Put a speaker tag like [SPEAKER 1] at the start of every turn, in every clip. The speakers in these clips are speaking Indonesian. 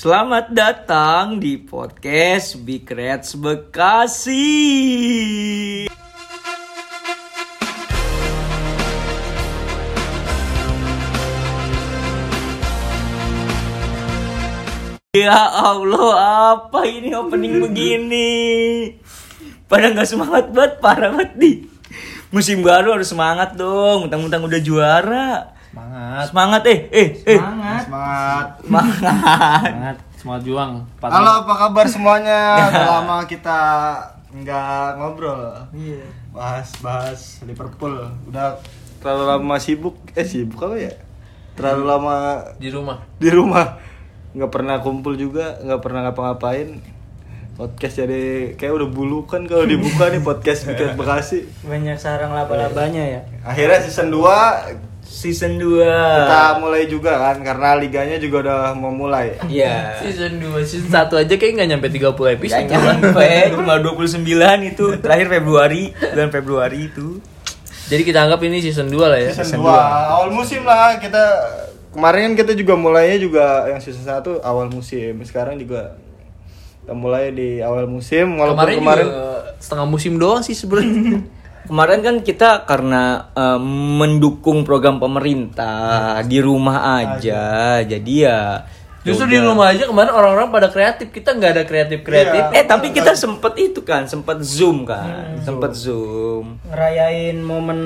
[SPEAKER 1] Selamat datang di podcast Big Reds Bekasi. Ya Allah, apa ini opening begini? Pada nggak semangat banget, parah banget di. Musim baru harus semangat dong, mentang-mentang udah juara.
[SPEAKER 2] Semangat.
[SPEAKER 1] Semangat eh, eh, eh.
[SPEAKER 3] Semangat.
[SPEAKER 2] Semangat.
[SPEAKER 1] Semangat.
[SPEAKER 3] Semangat. Semangat juang. Patut.
[SPEAKER 2] Halo, apa kabar semuanya? Udah lama kita nggak ngobrol. Iya. Bahas bahas Liverpool. Udah terlalu lama sibuk. Eh sibuk apa ya? Terlalu lama
[SPEAKER 3] Di rumah.
[SPEAKER 2] di rumah. Nggak pernah kumpul juga, nggak pernah ngapa-ngapain. Podcast jadi kayak udah bulukan kalau dibuka nih podcast Bikret Bekasi.
[SPEAKER 1] Banyak sarang laba-labanya ya.
[SPEAKER 2] Akhirnya season 2
[SPEAKER 1] Season 2.
[SPEAKER 3] Ah.
[SPEAKER 2] kita mulai juga kan karena liganya juga udah mau mulai.
[SPEAKER 1] Iya.
[SPEAKER 3] Season 2, season 1 aja kayak nggak nyampe 30 episode.
[SPEAKER 1] Jangan nyampe cuma 29 itu terakhir Februari, bulan Februari itu.
[SPEAKER 3] Jadi kita anggap ini season 2 lah ya.
[SPEAKER 2] season 2 awal musim lah kita kemarin kan kita juga mulainya juga yang season 1 awal musim sekarang juga kita mulai di awal musim walaupun
[SPEAKER 3] Kemarin,
[SPEAKER 2] kemarin,
[SPEAKER 3] juga setengah musim doang sih sebenarnya.
[SPEAKER 1] Kemarin kan kita karena eh, mendukung program pemerintah di rumah aja. Jadi ya
[SPEAKER 3] Justru di rumah aja kemarin orang-orang pada kreatif. Kita nggak ada kreatif-kreatif.
[SPEAKER 1] Eh tapi kita sempet itu kan, sempet zoom kan, sempet zoom.
[SPEAKER 4] ngerayain momen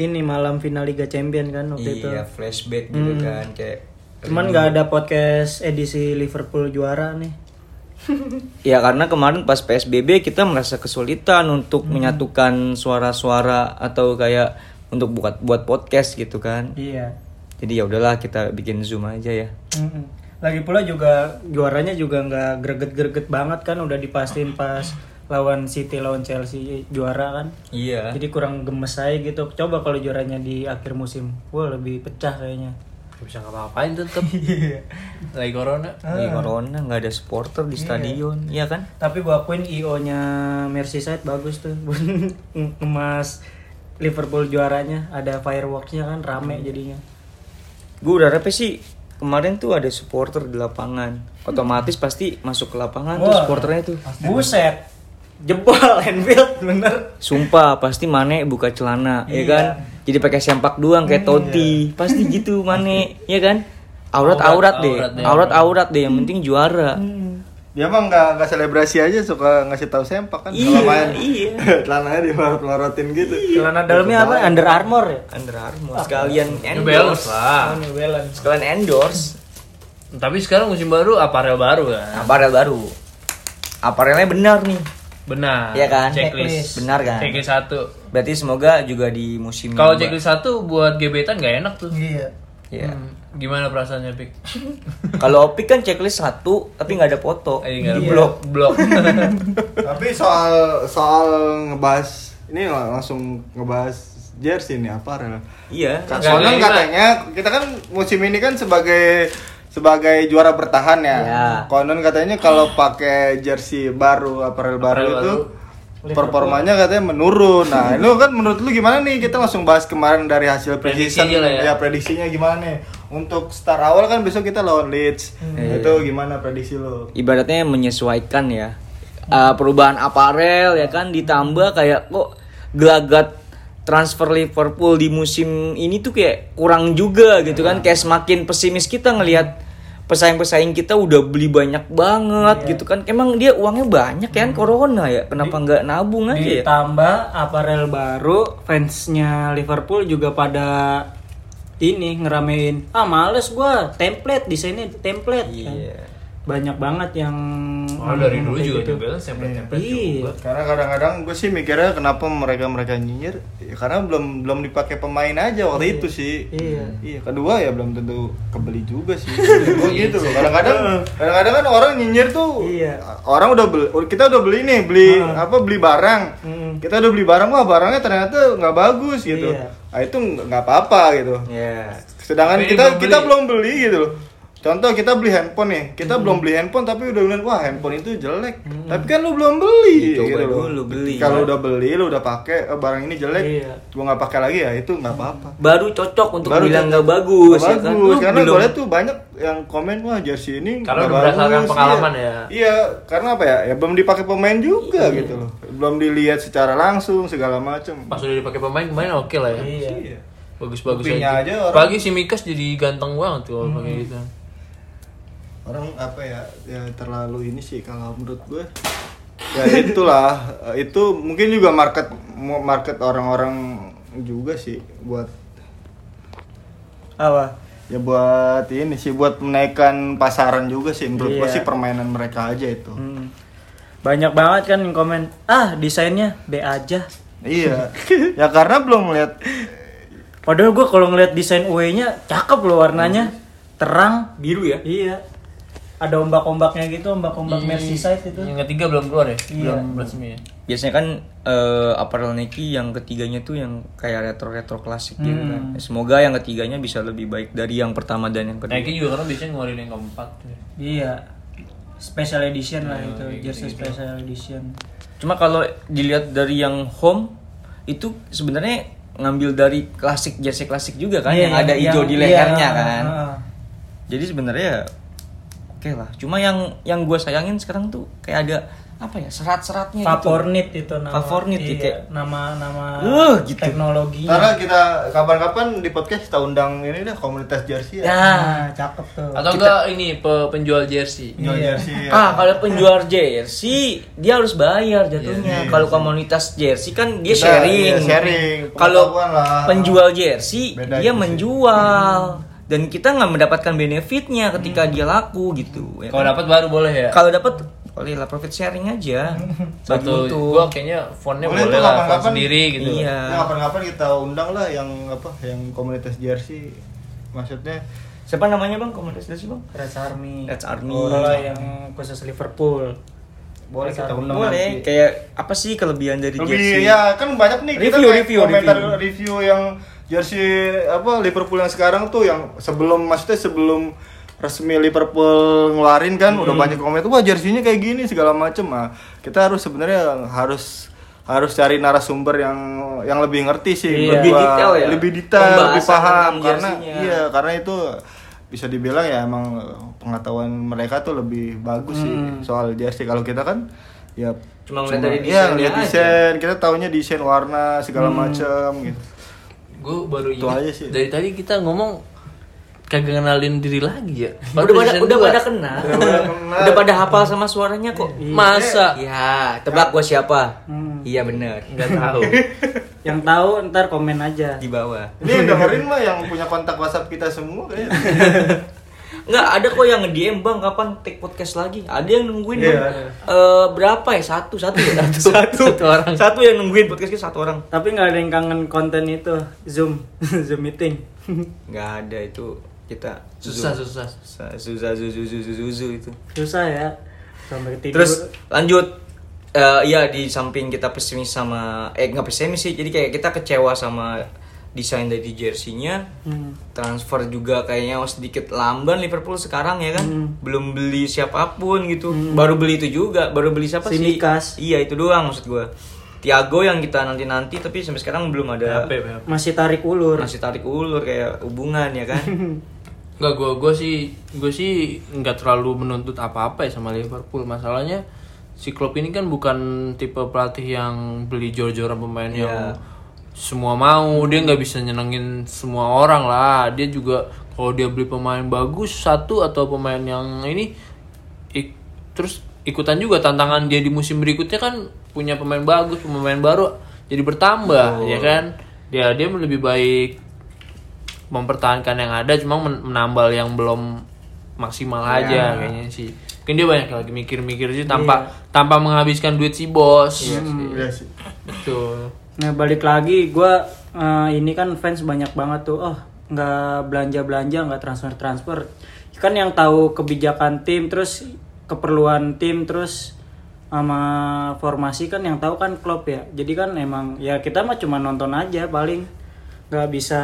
[SPEAKER 4] ini malam final Liga Champion kan waktu itu.
[SPEAKER 1] Iya flashback gitu kan kayak.
[SPEAKER 4] Cuman nggak ada podcast edisi Liverpool juara nih.
[SPEAKER 1] Ya karena kemarin pas PSBB kita merasa kesulitan untuk menyatukan suara-suara atau kayak untuk buat buat podcast gitu kan.
[SPEAKER 4] Iya.
[SPEAKER 1] Jadi ya udahlah kita bikin zoom aja ya.
[SPEAKER 4] Mm-mm. Lagi pula juga juaranya juga nggak greget-greget banget kan udah dipastiin pas lawan City lawan Chelsea juara kan.
[SPEAKER 1] Iya.
[SPEAKER 4] Jadi kurang gemes aja gitu. Coba kalau juaranya di akhir musim, wah lebih pecah kayaknya.
[SPEAKER 3] Nggak bisa ngapa-ngapain tetep.
[SPEAKER 4] Iya.
[SPEAKER 3] Lagi corona.
[SPEAKER 1] Ini corona nggak ada supporter di stadion, Ah. iya kan?
[SPEAKER 4] Tapi gua akuin IO-nya Merseyside bagus tuh. Emas Liverpool juaranya ada fireworks-nya kan rame jadinya.
[SPEAKER 1] Gue udah repe sih kemarin tuh ada supporter di lapangan. Otomatis pasti masuk ke lapangan tuh
[SPEAKER 4] Wah.
[SPEAKER 1] supporternya tuh.
[SPEAKER 4] Buset. Jebol Anfield bener.
[SPEAKER 1] Sumpah pasti Mane buka celana,
[SPEAKER 3] Iya.
[SPEAKER 1] ya kan? Jadi pakai sempak doang kayak Totti. Pasti gitu Mane, ya kan? Aurat-aurat
[SPEAKER 3] Aurat,
[SPEAKER 1] deh.
[SPEAKER 3] aurat deh. Hmm.
[SPEAKER 1] Aurat-aurat deh, yang penting juara.
[SPEAKER 2] dia mah nggak nggak selebrasi aja suka ngasih tahu sempak kan
[SPEAKER 1] Iya,
[SPEAKER 2] kalau main
[SPEAKER 1] iya.
[SPEAKER 2] celananya dimarot-marotin gitu
[SPEAKER 4] Celana dalamnya apa? Under Armour ya?
[SPEAKER 1] Under Armour sekalian
[SPEAKER 3] New Balance
[SPEAKER 1] endorse.
[SPEAKER 4] Oh,
[SPEAKER 3] lah.
[SPEAKER 4] New Balance.
[SPEAKER 1] Sekalian endorse.
[SPEAKER 3] Tapi sekarang musim baru, aparel baru kan.
[SPEAKER 1] Aparel Nah, baru. Aparelnya benar nih.
[SPEAKER 3] Benar.
[SPEAKER 1] Iya kan?
[SPEAKER 3] Checklist.
[SPEAKER 1] Benar kan?
[SPEAKER 3] Checklist satu.
[SPEAKER 1] Berarti semoga juga di musim
[SPEAKER 3] Kalau
[SPEAKER 1] ini,
[SPEAKER 3] checklist Hmm. satu buat gebetan nggak enak tuh.
[SPEAKER 4] Iya.
[SPEAKER 1] Mbak. Iya.
[SPEAKER 3] Gimana perasaannya, Pik?
[SPEAKER 1] Kalau Opik kan checklist satu tapi Iya, nggak ada foto.
[SPEAKER 3] Eh, nggak ada-
[SPEAKER 1] Di
[SPEAKER 4] Iya.
[SPEAKER 1] blok.
[SPEAKER 3] blok.
[SPEAKER 2] tapi soal soal ngebahas ini lang- langsung ngebahas jersey ini apa rel
[SPEAKER 1] Iya.
[SPEAKER 3] Nggak
[SPEAKER 2] soalnya
[SPEAKER 3] ada
[SPEAKER 2] katanya kita kan musim ini kan sebagai sebagai juara bertahan ya.
[SPEAKER 1] Iya.
[SPEAKER 2] Konon katanya kalau pakai jersey baru, aparel baru
[SPEAKER 3] Aparel
[SPEAKER 2] itu performanya katanya menurun. Nah, lu kan menurut lu gimana nih? Kita langsung bahas kemarin dari hasil prediction
[SPEAKER 3] Prediksinya lah ya.
[SPEAKER 2] prediksinya gimana nih? Untuk start awal kan besok kita lawan Leeds.
[SPEAKER 3] Hmm.
[SPEAKER 2] Itu gimana prediksi lu?
[SPEAKER 1] Ibaratnya menyesuaikan ya. Eh, perubahan aparel ya kan ditambah kayak kok gelagat transfer Liverpool di musim ini tuh kayak kurang juga gitu kan kayak semakin pesimis kita ngelihat pesaing-pesaing kita udah beli banyak banget gitu kan emang dia uangnya banyak ya kan corona ya kenapa nggak nabung aja ya
[SPEAKER 4] Ditambah aparel baru, fansnya Liverpool juga pada ini ngeramein. Ah males gua, template di sini template. kan.
[SPEAKER 1] Iya.
[SPEAKER 4] Banyak banget yang
[SPEAKER 3] Oh, dari dulu juga New Balance template-template
[SPEAKER 4] gitu. Iya.
[SPEAKER 3] juga.
[SPEAKER 2] Karena kadang-kadang gue sih mikirnya kenapa mereka-mereka nyinyir ya karena belum belum dipakai pemain aja waktu itu sih.
[SPEAKER 4] Iya.
[SPEAKER 2] Iya, kedua ya belum tentu kebeli juga sih. Gue gitu loh. Kadang-kadang kadang-kadang kan orang nyinyir tuh.
[SPEAKER 4] Iya.
[SPEAKER 2] Orang udah beli oh, kita udah beli nih, beli apa beli barang. Kita udah beli barang wah barangnya ternyata nggak bagus gitu.
[SPEAKER 4] Hmm. Iya.
[SPEAKER 2] Nah, itu nggak nggak apa-apa gitu.
[SPEAKER 1] Iya.
[SPEAKER 2] Sedangkan
[SPEAKER 3] Tapi
[SPEAKER 2] kita kita
[SPEAKER 3] belum beli. Hmm.
[SPEAKER 2] belum beli gitu loh. Contoh kita beli handphone nih, kita belum beli handphone tapi udah bilang wah handphone itu jelek. Tapi kan lu belum beli.
[SPEAKER 1] Coba
[SPEAKER 2] gitu loh.
[SPEAKER 1] dulu beli.
[SPEAKER 2] Kalau udah beli, lu udah pakai eh, barang ini jelek,
[SPEAKER 4] Iya.
[SPEAKER 2] gua nggak pakai lagi ya itu
[SPEAKER 3] Hmm.
[SPEAKER 2] nggak apa-apa.
[SPEAKER 1] baru cocok untuk
[SPEAKER 2] Baru
[SPEAKER 1] bilang
[SPEAKER 2] cocok.
[SPEAKER 1] nggak bagus,
[SPEAKER 2] Nggak
[SPEAKER 1] ya kan?
[SPEAKER 2] bagus,
[SPEAKER 1] Lu
[SPEAKER 2] karena
[SPEAKER 1] belum-
[SPEAKER 2] gue liat tuh banyak yang komen wah jersey ini
[SPEAKER 3] Karena
[SPEAKER 2] nggak
[SPEAKER 3] berdasarkan
[SPEAKER 2] bagus,
[SPEAKER 3] pengalaman
[SPEAKER 2] iya.
[SPEAKER 3] ya. Iya.
[SPEAKER 2] Iya, karena apa ya? Ya belum dipakai pemain juga gitu loh. Belum dilihat secara langsung segala macem
[SPEAKER 3] Pas udah dipakai pemain kemarin oke lah ya.
[SPEAKER 2] Iya.
[SPEAKER 3] Bagus-bagus
[SPEAKER 2] Kupingnya
[SPEAKER 3] aja.
[SPEAKER 2] aja orang-
[SPEAKER 3] Pagi si Mikas jadi ganteng banget tuh
[SPEAKER 4] Hmm.
[SPEAKER 3] kalau pakai gitu.
[SPEAKER 2] orang apa ya ya terlalu ini sih kalau menurut gue ya itulah eh, itu mungkin juga market mo- market orang-orang juga sih buat apa ya buat ini sih buat menaikkan pasaran juga sih menurut gue
[SPEAKER 4] Iya.
[SPEAKER 2] sih permainan mereka aja itu
[SPEAKER 4] Hmm. Banyak banget kan yang komen, ah desainnya B aja.
[SPEAKER 2] iya ya karena belum melihat
[SPEAKER 4] Padahal gue kalau ngeliat desain UE-nya cakep loh
[SPEAKER 1] Hmm.
[SPEAKER 4] warnanya, terang.
[SPEAKER 3] Biru ya?
[SPEAKER 4] Iya. Ada ombak-ombaknya gitu,
[SPEAKER 1] Iya.
[SPEAKER 4] ombak-ombak Merseyside itu.
[SPEAKER 3] Yang ketiga belum keluar ya?
[SPEAKER 4] Iya.
[SPEAKER 3] Belum resmi ya.
[SPEAKER 1] biasanya kan eh, apparel Nike yang ketiganya tuh yang kayak retro-retro klasik gitu kan. Semoga yang ketiganya bisa lebih baik dari yang pertama dan yang kedua.
[SPEAKER 3] Nike Nah, juga karena biasanya ngeluarin yang keempat tuh. ya.
[SPEAKER 4] Iya. Special edition
[SPEAKER 1] Iya,
[SPEAKER 4] lah itu, jersey special edition.
[SPEAKER 1] Cuma kalau dilihat dari yang home itu sebenarnya ngambil dari klasik jersey klasik juga kan
[SPEAKER 4] Iya,
[SPEAKER 1] yang ada hijau di
[SPEAKER 4] iya,
[SPEAKER 1] lehernya kan.
[SPEAKER 4] ah.
[SPEAKER 1] Jadi sebenarnya ya oke lah. Cuma yang yang gue sayangin sekarang tuh kayak ada apa ya serat-seratnya
[SPEAKER 4] Favornit itu nama.
[SPEAKER 1] Favornit
[SPEAKER 4] iya,
[SPEAKER 1] gitu ya.
[SPEAKER 4] nama-nama
[SPEAKER 1] Uh, gitu.
[SPEAKER 4] teknologinya.
[SPEAKER 2] karena kita kapan-kapan di podcast kita undang ini dah komunitas jersey ya
[SPEAKER 1] Nah,
[SPEAKER 4] Nah, cakep tuh.
[SPEAKER 3] Atau enggak ini pe- penjual jersey.
[SPEAKER 2] Jual
[SPEAKER 4] iya.
[SPEAKER 2] jersey ya.
[SPEAKER 1] Ah, kalau penjual jersey dia harus bayar jatuhnya.
[SPEAKER 2] Iya,
[SPEAKER 1] kalau komunitas jersey kan dia
[SPEAKER 2] Kita,
[SPEAKER 1] sharing.
[SPEAKER 2] iya, sharing.
[SPEAKER 1] Kalau
[SPEAKER 2] Pengetahuan lah.
[SPEAKER 1] penjual jersey
[SPEAKER 2] Beda
[SPEAKER 1] dia
[SPEAKER 2] itu sih.
[SPEAKER 1] menjual dan kita nggak mendapatkan benefitnya ketika
[SPEAKER 2] Hmm.
[SPEAKER 1] dia laku gitu. ya
[SPEAKER 3] Kalau
[SPEAKER 1] kan?
[SPEAKER 3] dapat baru boleh ya.
[SPEAKER 1] Kalau dapat boleh lah profit sharing aja. Bagi
[SPEAKER 3] Satu
[SPEAKER 1] untung.
[SPEAKER 3] gua kayaknya fontnya
[SPEAKER 2] Boleh
[SPEAKER 3] boleh,
[SPEAKER 2] tuh
[SPEAKER 3] lah,
[SPEAKER 2] kapan-kapan.
[SPEAKER 3] font sendiri gitu.
[SPEAKER 1] Iya.
[SPEAKER 2] Ya, kapan-kapan kita undang lah yang apa yang komunitas jersey maksudnya
[SPEAKER 1] Siapa namanya bang? Komunitas jersey bang?
[SPEAKER 4] Reds Army.
[SPEAKER 1] Reds Army.
[SPEAKER 4] Kalau yang khusus Liverpool.
[SPEAKER 2] boleh kita undang
[SPEAKER 1] Boleh.
[SPEAKER 2] nanti.
[SPEAKER 1] Kayak apa sih kelebihan dari
[SPEAKER 2] lebih
[SPEAKER 1] jersey?
[SPEAKER 2] ya kan banyak nih
[SPEAKER 1] Review,
[SPEAKER 2] kayak
[SPEAKER 1] review,
[SPEAKER 2] komentar
[SPEAKER 1] review.
[SPEAKER 2] review. yang jersey apa Liverpool yang sekarang tuh yang sebelum maksudnya sebelum resmi Liverpool ngeluarin kan udah banyak komentar wah jersinya kayak gini segala macem ah kita harus sebenarnya harus harus cari narasumber yang yang lebih ngerti sih
[SPEAKER 1] Iya.
[SPEAKER 2] menurut
[SPEAKER 1] Lebih
[SPEAKER 2] gua.
[SPEAKER 1] detail ya?
[SPEAKER 2] lebih detail lebih
[SPEAKER 1] Pembahasan
[SPEAKER 2] paham
[SPEAKER 1] tentang
[SPEAKER 2] karena
[SPEAKER 1] jersinya.
[SPEAKER 2] iya karena itu bisa dibilang ya emang pengetahuan mereka tuh lebih bagus sih soal jersey kalau kita kan ya
[SPEAKER 1] Hmm. Cuma ngeliat dari
[SPEAKER 2] iya,
[SPEAKER 1] desainnya
[SPEAKER 2] ngeliat
[SPEAKER 1] aja. Hmm.
[SPEAKER 2] desain kita taunya desain warna segala macem gitu
[SPEAKER 3] Gue baru
[SPEAKER 2] Itu
[SPEAKER 3] ingat,
[SPEAKER 2] aja sih.
[SPEAKER 3] Dari tadi kita ngomong kagak kenalin diri lagi ya.
[SPEAKER 1] Udah pada udah pada
[SPEAKER 3] kenal
[SPEAKER 1] kenal.
[SPEAKER 2] Udah pada kenal.
[SPEAKER 1] Udah pada hafal sama suaranya kok.
[SPEAKER 3] Iya. Masa?
[SPEAKER 1] Ya, tebak gua siapa?
[SPEAKER 4] Hmm.
[SPEAKER 1] Iya bener
[SPEAKER 3] Enggak tahu.
[SPEAKER 4] Yang tahu ntar komen aja.
[SPEAKER 1] Di bawah.
[SPEAKER 2] ini yang dengerin mah yang punya kontak WhatsApp kita semua kayaknya
[SPEAKER 1] Nggak ada kok yang nge-DM bang kapan take podcast lagi. Ada yang nungguin bang.
[SPEAKER 2] Iya.
[SPEAKER 1] Eh, berapa ya? Satu, satu ya. Satu, satu,
[SPEAKER 3] Satu orang.
[SPEAKER 1] Satu yang nungguin podcast kita satu orang.
[SPEAKER 4] Tapi nggak ada yang kangen konten itu Zoom, Zoom meeting.
[SPEAKER 1] Nggak ada itu kita
[SPEAKER 3] Susah,
[SPEAKER 1] Zoom.
[SPEAKER 3] susah.
[SPEAKER 1] susah susah zuzu zuzu zuzu itu.
[SPEAKER 4] Susah ya. Sampai tidur.
[SPEAKER 1] Terus lanjut eh ya di samping kita pesimis sama eh nggak pesimis sih. Jadi kayak kita kecewa sama desain dari jersinya.
[SPEAKER 4] Hmm.
[SPEAKER 1] transfer juga kayaknya oh, sedikit lamban Liverpool sekarang ya kan
[SPEAKER 4] Hmm.
[SPEAKER 1] belum beli siapapun gitu baru beli itu juga baru beli siapa
[SPEAKER 4] Si
[SPEAKER 1] sih
[SPEAKER 4] Mikas.
[SPEAKER 1] iya itu doang maksud gua Tiago yang kita nanti nanti tapi sampai sekarang belum ada
[SPEAKER 3] Apa ya?
[SPEAKER 4] Masih tarik ulur.
[SPEAKER 1] masih tarik ulur kayak hubungan ya kan
[SPEAKER 3] Enggak gue gue sih gue sih nggak terlalu menuntut apa-apa ya sama Liverpool. Masalahnya si Klopp ini kan bukan tipe pelatih yang beli jor-joran pemain yang semua mau.
[SPEAKER 2] Hmm.
[SPEAKER 3] Dia nggak bisa nyenengin semua orang lah. Dia juga kalau dia beli pemain bagus satu atau pemain yang ini ik- terus ikutan juga tantangan dia di musim berikutnya kan punya pemain bagus, pemain baru jadi bertambah ya kan. Dia dia lebih baik mempertahankan yang ada cuma men- menambal yang belum maksimal
[SPEAKER 2] Iya.
[SPEAKER 3] aja kayaknya sih mungkin dia banyak lagi mikir-mikir sih tanpa tanpa menghabiskan duit si bos Hmm.
[SPEAKER 2] Iya sih.
[SPEAKER 3] betul
[SPEAKER 4] Nah balik lagi, gue ini kan fans banyak banget tuh. Oh nggak belanja belanja, nggak transfer transfer. Kan yang tahu kebijakan tim, terus keperluan tim, terus sama formasi kan yang tahu kan klub ya. Jadi kan emang ya kita mah cuma nonton aja paling nggak bisa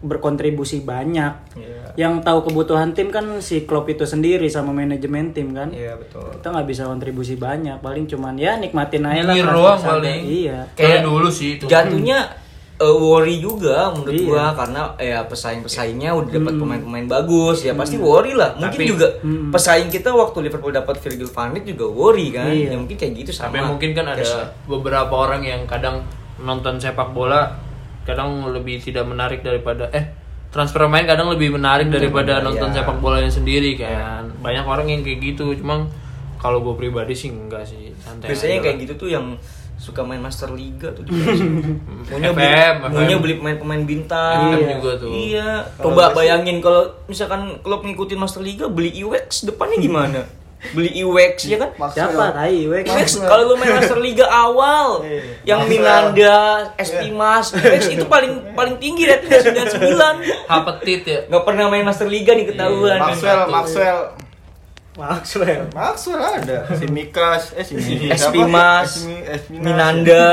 [SPEAKER 4] berkontribusi banyak.
[SPEAKER 3] Iya.
[SPEAKER 1] Iya,
[SPEAKER 4] Yang tahu kebutuhan tim kan si Klopp itu sendiri sama manajemen tim kan.
[SPEAKER 1] Iya betul.
[SPEAKER 4] Kita nggak bisa kontribusi banyak, paling cuman ya nikmatin aja lah.
[SPEAKER 3] Nyir
[SPEAKER 4] transfer
[SPEAKER 3] doang
[SPEAKER 4] santai.
[SPEAKER 3] paling.
[SPEAKER 4] Iya.
[SPEAKER 3] Kayak dulu sih itu.
[SPEAKER 1] Jatuhnya eh, worry juga menurut
[SPEAKER 4] Iya.
[SPEAKER 1] gua karena ya pesaing-pesaingnya udah
[SPEAKER 4] Hmm.
[SPEAKER 1] dapat pemain-pemain bagus ya pasti worry lah. Mungkin
[SPEAKER 3] Tapi-
[SPEAKER 1] juga
[SPEAKER 4] Hmm.
[SPEAKER 1] pesaing kita waktu Liverpool dapat Virgil van Dijk juga worry kan.
[SPEAKER 4] Iya.
[SPEAKER 1] Ya mungkin kayak gitu sama.
[SPEAKER 3] Sampai mungkin kan ada
[SPEAKER 1] Kayak-
[SPEAKER 3] beberapa orang yang kadang nonton sepak bola kadang lebih tidak menarik daripada eh transfer main kadang lebih menarik daripada nonton sepak bolanya sendiri kan. Banyak orang yang kayak gitu, cuma kalau gue pribadi sih enggak sih. Santai.
[SPEAKER 1] biasanya
[SPEAKER 3] aja
[SPEAKER 1] kayak
[SPEAKER 3] lah.
[SPEAKER 1] gitu tuh yang suka main Master Liga tuh juga sih. maunya beli,
[SPEAKER 3] FM.
[SPEAKER 1] maunya beli pemain-pemain bintang
[SPEAKER 3] Iya. juga tuh.
[SPEAKER 1] iya coba bayangin kalau misalkan klub ngikutin Master Liga beli IWX depannya gimana beli IWX ya kan
[SPEAKER 2] Maxwell.
[SPEAKER 4] Siapa tai kan? Wek?
[SPEAKER 1] IWX kalau lu main Master Liga awal
[SPEAKER 2] Iya.
[SPEAKER 1] yang
[SPEAKER 2] Master. Iya.
[SPEAKER 1] Minanda, SP Mas, IWX itu paling paling tinggi ratingnya 99.
[SPEAKER 3] Hapetit ya.
[SPEAKER 1] Nggak pernah main Master Liga nih ketahuan.
[SPEAKER 2] Maxwell,
[SPEAKER 3] Satu.
[SPEAKER 2] Maxwell.
[SPEAKER 4] Maxwell.
[SPEAKER 2] Maxwell ada. Si Mikas, eh si Eh, Mika
[SPEAKER 1] SP
[SPEAKER 2] apa?
[SPEAKER 1] Mas,
[SPEAKER 2] SP SP Nas.
[SPEAKER 1] Minanda.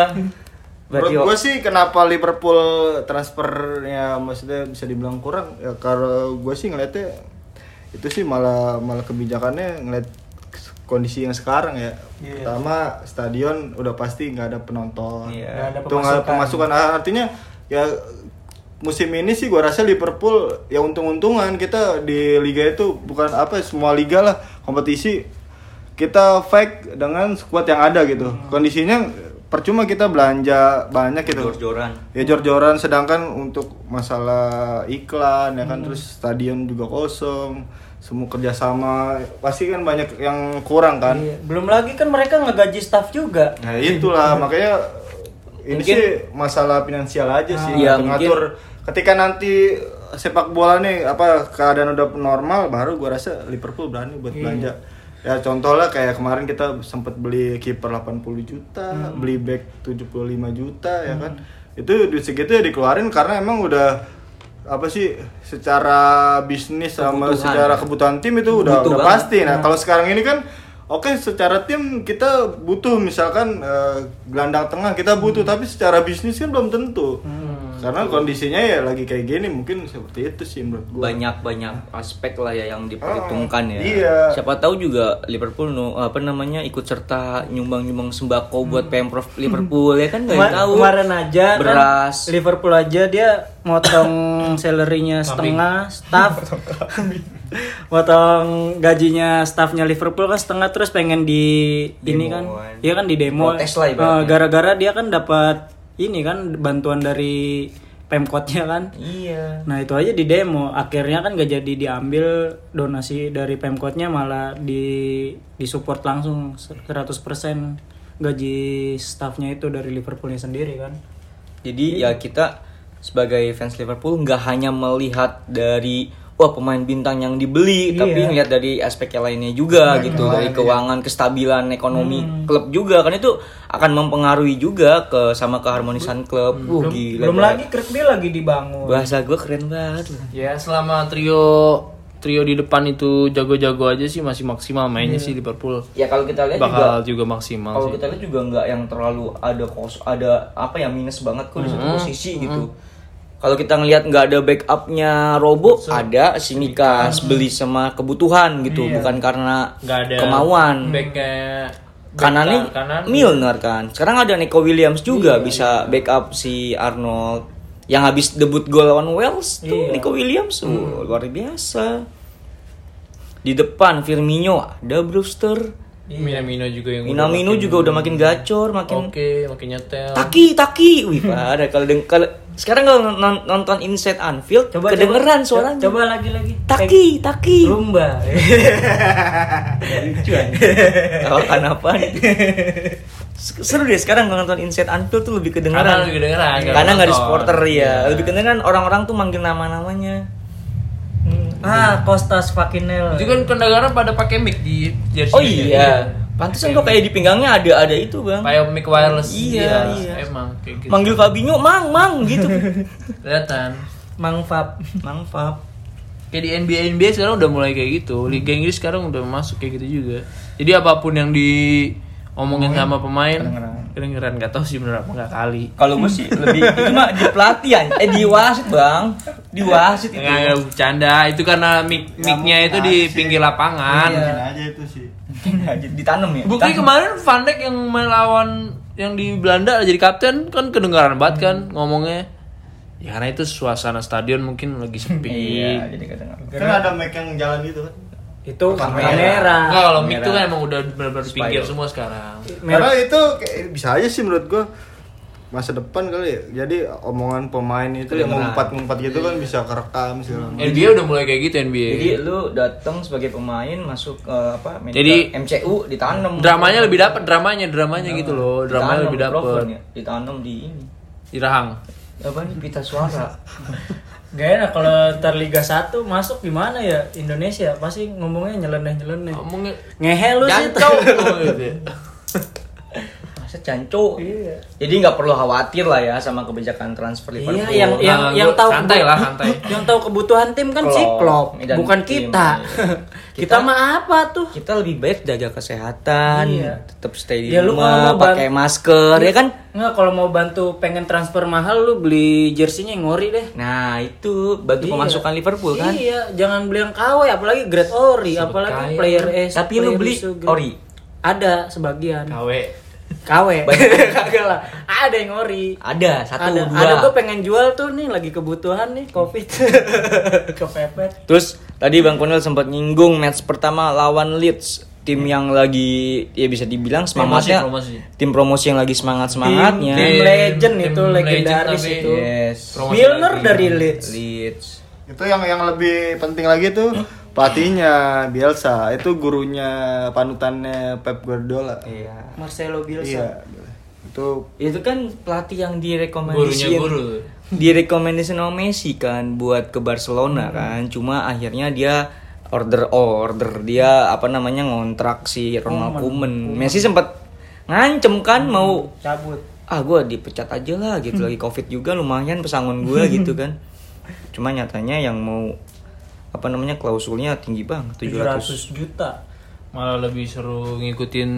[SPEAKER 1] Berarti
[SPEAKER 2] Menurut gue sih kenapa Liverpool transfernya maksudnya bisa dibilang kurang ya kalau gue sih ngeliatnya itu sih malah malah kebijakannya ngeliat kondisi yang sekarang ya. Pertama stadion udah pasti nggak ada penonton.
[SPEAKER 1] Iya.
[SPEAKER 4] Nggak ada
[SPEAKER 2] Itu nggak ada
[SPEAKER 4] pemasukan.
[SPEAKER 2] pemasukan. Artinya ya musim ini sih gue rasa Liverpool ya untung-untungan kita di liga itu bukan apa ya, semua liga lah kompetisi kita fight dengan squad yang ada gitu.
[SPEAKER 4] Hmm.
[SPEAKER 2] Kondisinya percuma kita belanja banyak gitu.
[SPEAKER 1] jor-joran.
[SPEAKER 2] Ya jor-joran sedangkan untuk masalah iklan ya kan
[SPEAKER 4] Hmm.
[SPEAKER 2] terus stadion juga kosong. Semua kerjasama pasti kan banyak yang kurang kan.
[SPEAKER 4] Iya. Belum lagi kan mereka ngegaji staff juga.
[SPEAKER 2] Nah itulah makanya ini
[SPEAKER 1] Mungkin-
[SPEAKER 2] sih masalah finansial aja sih
[SPEAKER 1] Iya,
[SPEAKER 2] ngatur, ngatur. Ketika nanti sepak bola nih apa keadaan udah normal baru gua rasa Liverpool berani
[SPEAKER 1] Iya.
[SPEAKER 2] buat belanja. Ya contohnya kayak kemarin kita sempat beli kiper 80 juta,
[SPEAKER 1] Hmm.
[SPEAKER 2] beli back 75 juta ya kan. Itu duit segitu ya dikeluarin karena emang udah apa sih secara bisnis sama
[SPEAKER 1] Kebutuhan.
[SPEAKER 2] secara kebutuhan tim itu udah
[SPEAKER 1] Butuh
[SPEAKER 2] udah
[SPEAKER 1] banget.
[SPEAKER 2] pasti. Nah, kalau sekarang ini kan oke secara tim kita butuh misalkan eh, gelandang tengah kita butuh tapi secara bisnis kan belum tentu. Karena kondisinya ya lagi kayak gini mungkin seperti itu sih menurut gua.
[SPEAKER 1] banyak-banyak aspek lah ya yang diperhitungkan ya.
[SPEAKER 2] Ah, iya.
[SPEAKER 1] Siapa tahu juga Liverpool no, apa namanya ikut serta nyumbang-nyumbang sembako buat Pemprov Liverpool ya kan nggak
[SPEAKER 4] Kemar-
[SPEAKER 1] tahu.
[SPEAKER 4] Hmm. kemarin aja kan
[SPEAKER 1] beras.
[SPEAKER 4] Liverpool aja dia motong salary-nya setengah staff motong gajinya staffnya Liverpool kan setengah terus pengen di ini kan
[SPEAKER 1] Demoan.
[SPEAKER 4] iya kan di demo
[SPEAKER 1] Protes lah
[SPEAKER 4] Eh,
[SPEAKER 1] ibaratnya.
[SPEAKER 4] gara-gara dia kan dapat ini kan bantuan dari Pemkotnya kan
[SPEAKER 1] Iya.
[SPEAKER 4] nah itu aja di demo akhirnya kan gak jadi diambil donasi dari Pemkotnya malah di disupport langsung 100% gaji staffnya itu dari Liverpoolnya sendiri kan
[SPEAKER 1] Jadi
[SPEAKER 4] Iya.
[SPEAKER 1] ya kita sebagai fans Liverpool nggak hanya melihat dari wah pemain bintang yang dibeli,
[SPEAKER 4] Iya.
[SPEAKER 1] tapi ngelihat dari aspek yang lainnya juga gitu, dari keuangan, kestabilan ekonomi
[SPEAKER 4] Hmm.
[SPEAKER 1] klub juga kan itu akan mempengaruhi juga ke sama keharmonisan klub. Wah, gila,
[SPEAKER 4] belum
[SPEAKER 1] Bray.
[SPEAKER 4] lagi Kirk Bill lagi dibangun
[SPEAKER 1] Bahasa gue keren banget loh.
[SPEAKER 3] Ya selama trio trio di depan itu jago-jago aja sih masih maksimal mainnya sih Liverpool.
[SPEAKER 1] Ya kalau kita lihat juga
[SPEAKER 3] Bakal juga maksimal
[SPEAKER 1] kalau
[SPEAKER 3] sih.
[SPEAKER 1] kita lihat juga nggak yang terlalu ada kos ada apa ya minus banget kok di satu posisi gitu. Kalau kita ngelihat nggak ada backupnya Robo, ada si Mikas beli sama kebutuhan gitu, bukan karena
[SPEAKER 3] Mm-hmm. Iya. Nggak ada
[SPEAKER 1] kemauan.
[SPEAKER 3] Backnya
[SPEAKER 1] Kanannya
[SPEAKER 3] back kanan. Iya,
[SPEAKER 1] Milner kan. Sekarang ada Nico Williams juga bisa backup si Arnold yang habis debut gol lawan Wales
[SPEAKER 3] Iya.
[SPEAKER 1] tuh Nico Williams
[SPEAKER 3] Hmm.
[SPEAKER 1] Wah, luar biasa. Di depan Firmino ada Brewster.
[SPEAKER 3] Minamino juga yang udah
[SPEAKER 1] Iya. Minamino
[SPEAKER 3] makin-
[SPEAKER 1] juga udah makin gacor, makin
[SPEAKER 3] Oke, makin nyetel.
[SPEAKER 1] taki taki. Wih, ada kalau deng- kalau- sekarang kalau non- nonton Inside Anfield kedengeran suaranya.
[SPEAKER 4] coba lagi lagi
[SPEAKER 1] taki taki.
[SPEAKER 4] rumba
[SPEAKER 1] Tawakan apa nih? S- Seru deh sekarang kalau nonton Inside Anfield tuh lebih
[SPEAKER 3] Karena
[SPEAKER 1] kedengeran.
[SPEAKER 3] lebih kedengeran.
[SPEAKER 1] Karena nggak ada
[SPEAKER 3] nonton.
[SPEAKER 1] supporter ya, lebih kedengeran orang-orang tuh manggil nama-namanya.
[SPEAKER 4] ah Kostas Fakinel
[SPEAKER 3] Itu kan kedengaran pada pakai mic di jersey.
[SPEAKER 1] Oh iya, pantesan kok kayak di pinggangnya ada ada itu bang.
[SPEAKER 3] Pakai mic wireless.
[SPEAKER 1] Iya, iya.
[SPEAKER 3] Emang kayak gitu.
[SPEAKER 1] Manggil Fabinho, mang mang gitu.
[SPEAKER 3] Kelihatan.
[SPEAKER 4] Mang Fab
[SPEAKER 1] mang Fab.
[SPEAKER 3] Kayak di NBA NBA sekarang udah mulai kayak gitu. Liga Inggris sekarang udah masuk kayak gitu juga. Jadi apapun yang diomongin sama pemain kedengeran nggak tahu sih bener apa nggak kali.
[SPEAKER 1] Kalau gue sih lebih itu mah di pelatihan, eh di wasit bang, di wasit itu.
[SPEAKER 3] Enggak, enggak bercanda. Itu karena mic micnya
[SPEAKER 1] Ah,
[SPEAKER 3] itu di
[SPEAKER 1] iya
[SPEAKER 2] Asik.
[SPEAKER 3] pinggir lapangan.
[SPEAKER 2] Mungkin aja itu sih
[SPEAKER 1] Mungkin aja ditanam ya.
[SPEAKER 3] Bukti
[SPEAKER 1] ditanam.
[SPEAKER 3] kemarin Van Dijk yang melawan yang di Belanda jadi kapten kan kedengaran banget kan ngomongnya. Ya karena itu suasana stadion mungkin lagi sepi.
[SPEAKER 1] Iya, jadi kadang
[SPEAKER 2] kan ada mic yang jalan gitu kan
[SPEAKER 4] Itu
[SPEAKER 2] Kamera.
[SPEAKER 3] Enggak
[SPEAKER 4] kamera.
[SPEAKER 3] kalau mic tuh kan emang udah benar-benar di pinggir
[SPEAKER 1] Spider.
[SPEAKER 3] semua sekarang.
[SPEAKER 2] Karena itu kayak- bisa aja sih menurut gua masa depan kali ya. Jadi omongan pemain itu yang ngumpat-ngumpat gitu kan bisa kerekam segala macam.
[SPEAKER 3] NBA udah mulai kayak gitu NBA.
[SPEAKER 1] Jadi lu datang sebagai pemain masuk ke apa? medical-
[SPEAKER 3] Jadi,
[SPEAKER 1] MCU ditanam. Oh,
[SPEAKER 3] Dramanya lebih dapat dramanya, dramanya gitu loh.
[SPEAKER 1] Ditanam
[SPEAKER 3] Dramanya lebih
[SPEAKER 1] mikrofon
[SPEAKER 3] dapat.
[SPEAKER 1] ya, Ditanam di ini.
[SPEAKER 3] Di rahang.
[SPEAKER 1] Apa nih pita suara?
[SPEAKER 5] Gak enak kalau ntar Liga 1 masuk gimana ya Indonesia pasti ngomongnya nyeleneh-nyeleneh.
[SPEAKER 3] Ngomongnya
[SPEAKER 4] Ngehe lu sih.
[SPEAKER 3] jancau gitu. ya.
[SPEAKER 1] Masa canco. Jadi nggak perlu khawatir lah ya sama kebijakan transfer Liverpool.
[SPEAKER 4] Iya. Iya, yang yang
[SPEAKER 3] Nah,
[SPEAKER 4] yang
[SPEAKER 3] gua-
[SPEAKER 4] tahu
[SPEAKER 3] santai lah, santai.
[SPEAKER 4] Yang tahu kebutuhan tim kan
[SPEAKER 1] Klopp.
[SPEAKER 4] Ciklop,
[SPEAKER 1] Dan
[SPEAKER 4] bukan
[SPEAKER 1] tim,
[SPEAKER 4] kita.
[SPEAKER 1] iya.
[SPEAKER 4] kita
[SPEAKER 1] Kita-
[SPEAKER 4] mah apa tuh?
[SPEAKER 1] kita lebih baik jaga kesehatan, tetap stay di
[SPEAKER 4] Ya, lu kalau
[SPEAKER 1] rumah,
[SPEAKER 4] mau Iya.
[SPEAKER 1] pakai masker, ya kan?
[SPEAKER 4] Nggak, kalau mau bantu pengen transfer mahal lu beli jersinya yang ngori deh.
[SPEAKER 1] Nah, itu bantu pemasukan Liverpool kan?
[SPEAKER 4] Iya, jangan beli yang KW apalagi Great Ori, apalagi player S.
[SPEAKER 1] Tapi lu
[SPEAKER 4] player
[SPEAKER 1] beli
[SPEAKER 4] so great.
[SPEAKER 1] ori.
[SPEAKER 4] Ada sebagian.
[SPEAKER 3] KW.
[SPEAKER 4] KW. Kagak lah. Ada yang ori.
[SPEAKER 1] Ada satu
[SPEAKER 4] ada,
[SPEAKER 1] dua.
[SPEAKER 4] ada gue pengen jual tuh nih lagi kebutuhan nih covid kepepet
[SPEAKER 1] Terus tadi Bang Konel sempat nyinggung match pertama lawan Leeds, tim yang lagi ya bisa dibilang semangatnya
[SPEAKER 3] promosi.
[SPEAKER 1] tim promosi yang lagi semangat-semangatnya.
[SPEAKER 4] Tim legend itu, legendaris
[SPEAKER 3] tapi
[SPEAKER 4] itu.
[SPEAKER 1] Yes.
[SPEAKER 3] promosi
[SPEAKER 4] Milner
[SPEAKER 3] lagi.
[SPEAKER 4] dari Leeds
[SPEAKER 1] Leeds.
[SPEAKER 2] Itu yang yang lebih penting lagi tuh pelatihnya Bielsa, itu gurunya panutannya Pep Guardiola.
[SPEAKER 1] Iya.
[SPEAKER 4] Marcelo Bielsa
[SPEAKER 2] Iya. Itu
[SPEAKER 1] Itu kan pelatih yang
[SPEAKER 3] gurunya
[SPEAKER 1] direkomendasiin
[SPEAKER 3] guru.
[SPEAKER 1] direkomendasiin sama Messi kan buat ke Barcelona
[SPEAKER 3] Hmm.
[SPEAKER 1] kan. Cuma akhirnya dia order oh, order dia apa namanya ngontrak si Ronald Koeman. Messi sempat ngancem kan mau
[SPEAKER 4] cabut
[SPEAKER 1] ah gue dipecat aja lah gitu lagi covid juga lumayan pesangon gue gitu kan cuma nyatanya yang mau apa namanya klausulnya tinggi banget 700
[SPEAKER 5] 700 juta.
[SPEAKER 3] Malah lebih seru ngikutin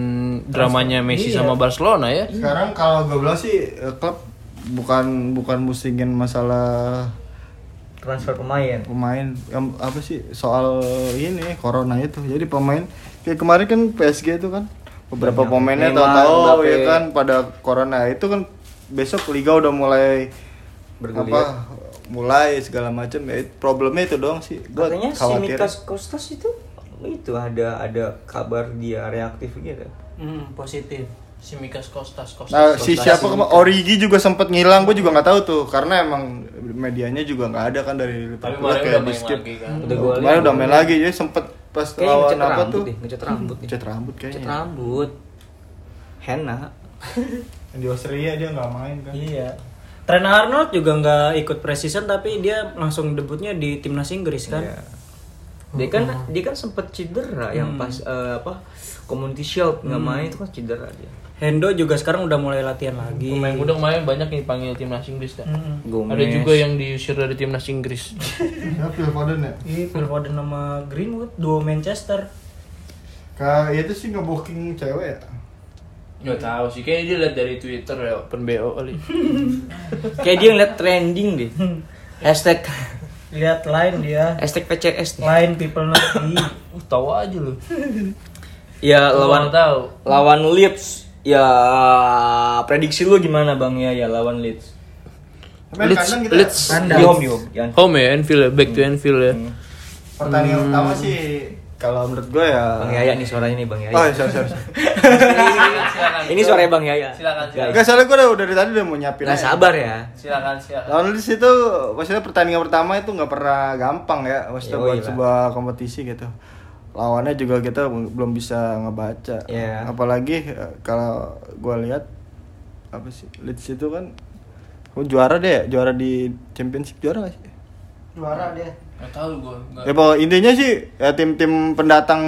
[SPEAKER 3] dramanya Messi sama Barcelona ya.
[SPEAKER 2] sekarang kalau gue bilang sih eh, klub bukan bukan musingin masalah
[SPEAKER 1] transfer pemain
[SPEAKER 2] pemain em, apa sih soal ini corona itu jadi pemain kayak kemarin kan PSG itu kan beberapa pemainnya
[SPEAKER 1] Neymar,
[SPEAKER 2] tahu-tahu
[SPEAKER 1] Mbappe.
[SPEAKER 2] ya kan pada corona itu kan besok liga udah mulai apa
[SPEAKER 1] Bergulir.
[SPEAKER 2] mulai segala macam ya it- problemnya itu doang sih gue
[SPEAKER 1] katanya si
[SPEAKER 2] khawatir
[SPEAKER 1] Mikas Kostas itu itu ada ada kabar dia reaktif gitu
[SPEAKER 4] hmm, positif
[SPEAKER 3] Si Mikas Kostas Kostas.
[SPEAKER 2] nah si siapa kema- Origi juga sempet ngilang gue juga nggak tahu tuh karena emang medianya juga nggak ada kan dari Liverpool
[SPEAKER 3] Tapi kemarin udah
[SPEAKER 2] kayak di
[SPEAKER 3] main
[SPEAKER 2] skip
[SPEAKER 3] lagi kan.
[SPEAKER 1] udah gue
[SPEAKER 2] kemarin udah main lagi jadi sempet pas
[SPEAKER 1] Iya. kayaknya
[SPEAKER 2] lawan
[SPEAKER 1] ngecat
[SPEAKER 2] apa
[SPEAKER 1] rambut
[SPEAKER 2] tuh
[SPEAKER 1] deh ngecat rambut deh
[SPEAKER 2] ngecat rambut
[SPEAKER 1] ngecat
[SPEAKER 2] kayaknya
[SPEAKER 1] rambut Hena
[SPEAKER 2] di Australia dia nggak main kan
[SPEAKER 4] iya Trent Arnold juga nggak ikut preseason tapi dia langsung debutnya di timnas Inggris kan
[SPEAKER 1] Iya. dia kan dia kan sempet cedera yang pas eh, apa community shield nggak main itu kan cedera dia
[SPEAKER 4] Hendo juga sekarang udah mulai latihan lagi Hmm.
[SPEAKER 3] Pemain muda kemarin banyak yang dipanggil timnas Inggris dah.
[SPEAKER 1] Gomez.
[SPEAKER 3] Ada juga yang diusir dari timnas Inggris.
[SPEAKER 2] Ya, Phil Foden ya.
[SPEAKER 4] Iya, Phil Foden sama Greenwood duo Manchester
[SPEAKER 2] Kak, itu sih ngeboking cewek ya.
[SPEAKER 3] Gak tahu sih, kayaknya dia lihat dari Twitter ya, open BO kali.
[SPEAKER 1] Kayak dia ngeliat trending deh. Hashtag
[SPEAKER 4] lihat lain dia
[SPEAKER 1] hashtag PCS nih.
[SPEAKER 4] lain people not be
[SPEAKER 3] Uh, tahu aja lu.
[SPEAKER 1] Ya lawan
[SPEAKER 3] Lawan tahu.
[SPEAKER 1] lawan Leeds. Ya prediksi lu gimana Bang ya ya lawan Leeds?
[SPEAKER 3] Let's
[SPEAKER 2] kadang kita- ya,
[SPEAKER 3] let's
[SPEAKER 1] Di home yo. Yan.
[SPEAKER 3] home ya Anfield, ya, back to Anfield ya.
[SPEAKER 1] Hmm.
[SPEAKER 2] Pertandingan pertama sih kalau menurut gue ya.
[SPEAKER 1] Bang Yaya Hmm. nih suaranya nih Bang Yaya.
[SPEAKER 2] Oh, sorry, sorry. sorry.
[SPEAKER 3] Silakan.
[SPEAKER 1] Ini suaranya Bang Yaya.
[SPEAKER 3] Silakan, silakan.
[SPEAKER 2] Enggak salah gue udah dari tadi udah mau nyiapin.
[SPEAKER 1] Gak
[SPEAKER 2] aja.
[SPEAKER 1] Ya, iya. sabar ya.
[SPEAKER 3] Silakan, silakan.
[SPEAKER 2] Lawan Leeds itu maksudnya pertandingan pertama itu nggak pernah gampang ya, maksudnya
[SPEAKER 1] Yoi
[SPEAKER 2] buat
[SPEAKER 1] lah.
[SPEAKER 2] sebuah kompetisi gitu. Lawannya juga kita belum bisa ngebaca.
[SPEAKER 1] Iya.
[SPEAKER 2] Apalagi eh, kalau gue lihat apa sih Leeds itu kan oh, juara deh, juara di Championship juara gak sih?
[SPEAKER 4] juara dia
[SPEAKER 3] Gak tahu gua. nggak-
[SPEAKER 2] Ya pokok intinya sih ya, tim-tim pendatang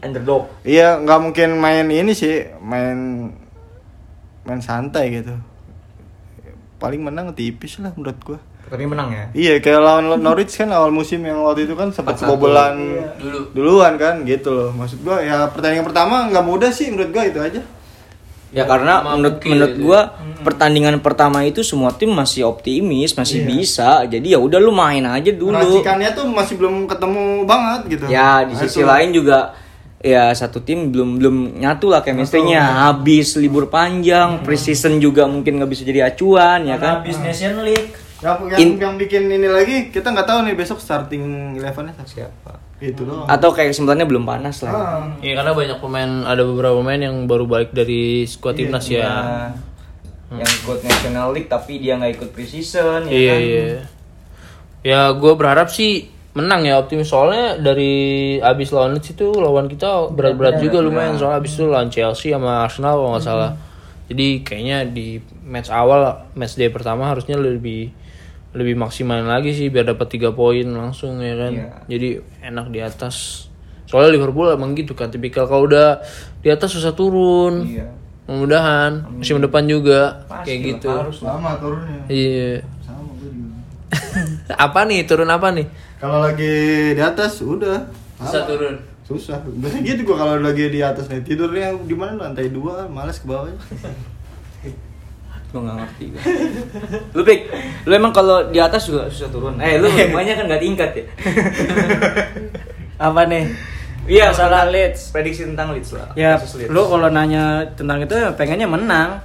[SPEAKER 1] Underdog.
[SPEAKER 2] iya nggak mungkin main ini sih main main santai gitu paling menang tipis lah menurut gua
[SPEAKER 1] Tapi menang ya.
[SPEAKER 2] iya kayak lawan lo- Norwich kan awal musim yang waktu itu kan sempat
[SPEAKER 1] 4-1.
[SPEAKER 2] kebobolan
[SPEAKER 3] Dulu.
[SPEAKER 2] duluan kan gitu loh maksud gua ya pertandingan pertama nggak mudah sih menurut gua itu aja
[SPEAKER 1] Ya karena
[SPEAKER 3] Sama
[SPEAKER 1] menurut
[SPEAKER 3] Pukki
[SPEAKER 1] menurut
[SPEAKER 3] gitu
[SPEAKER 1] gua pertandingan pertama itu semua tim masih optimis, masih bisa. Jadi ya udah lu main aja dulu.
[SPEAKER 2] Racikannya tuh masih belum ketemu banget gitu.
[SPEAKER 1] Ya di
[SPEAKER 2] Nah,
[SPEAKER 1] sisi
[SPEAKER 2] itu.
[SPEAKER 1] lain juga ya satu tim belum belum nyatu lah chemistry-nya. Habis libur panjang, preseason juga mungkin nggak bisa jadi acuan
[SPEAKER 4] Iya
[SPEAKER 1] ya kan.
[SPEAKER 5] Karena habis Nation League
[SPEAKER 2] Yang, yang,
[SPEAKER 1] In-
[SPEAKER 2] yang bikin ini lagi kita nggak tahu nih besok starting elevennya siapa. Itu doang.
[SPEAKER 1] Atau kayak kesimpulannya belum panas lah.
[SPEAKER 3] Iya karena banyak pemain ada beberapa pemain yang baru balik
[SPEAKER 1] Iya,
[SPEAKER 3] dari skuad timnas ya.
[SPEAKER 1] Yang ikut National League tapi dia nggak ikut preseason ya
[SPEAKER 3] Iya
[SPEAKER 1] kan.
[SPEAKER 3] iya. Ya gue berharap sih menang ya optimis soalnya dari abis lawan Leeds itu lawan kita berat-berat
[SPEAKER 1] ya.
[SPEAKER 3] juga lumayan soalnya abis itu lawan Chelsea sama Arsenal kalau nggak salah.
[SPEAKER 1] Hmm.
[SPEAKER 3] Jadi kayaknya di match awal match day pertama harusnya lebih lebih maksimal lagi sih biar dapat tiga poin langsung ya
[SPEAKER 1] Iya.
[SPEAKER 3] kan. Jadi enak di atas. Soalnya Liverpool emang gitu kan tipikal kalau udah di atas susah turun.
[SPEAKER 1] Iya.
[SPEAKER 3] Mudah-mudahan musim depan juga kayak gitu.
[SPEAKER 2] Lama turunnya.
[SPEAKER 1] Eh.
[SPEAKER 3] Iya.
[SPEAKER 2] Sama gue juga.
[SPEAKER 3] apa nih turun apa nih?
[SPEAKER 2] Kalau lagi di atas udah
[SPEAKER 3] Susah turun.
[SPEAKER 2] susah. Biasanya gitu gua kalau lagi di atas nih tidurnya di mana lantai dua, males ke bawah.
[SPEAKER 1] Lu gak ngerti gue. Lu pik, lu emang kalau di atas juga susah turun. Eh lu rumahnya kan gak tingkat ya.
[SPEAKER 4] Apa nih?
[SPEAKER 1] Iya
[SPEAKER 4] Masalah
[SPEAKER 1] tentang-
[SPEAKER 4] Leeds.
[SPEAKER 1] Prediksi tentang Leeds lah.
[SPEAKER 4] Ya,
[SPEAKER 1] Kasus Leeds.
[SPEAKER 4] lu kalau nanya tentang itu ya pengennya menang.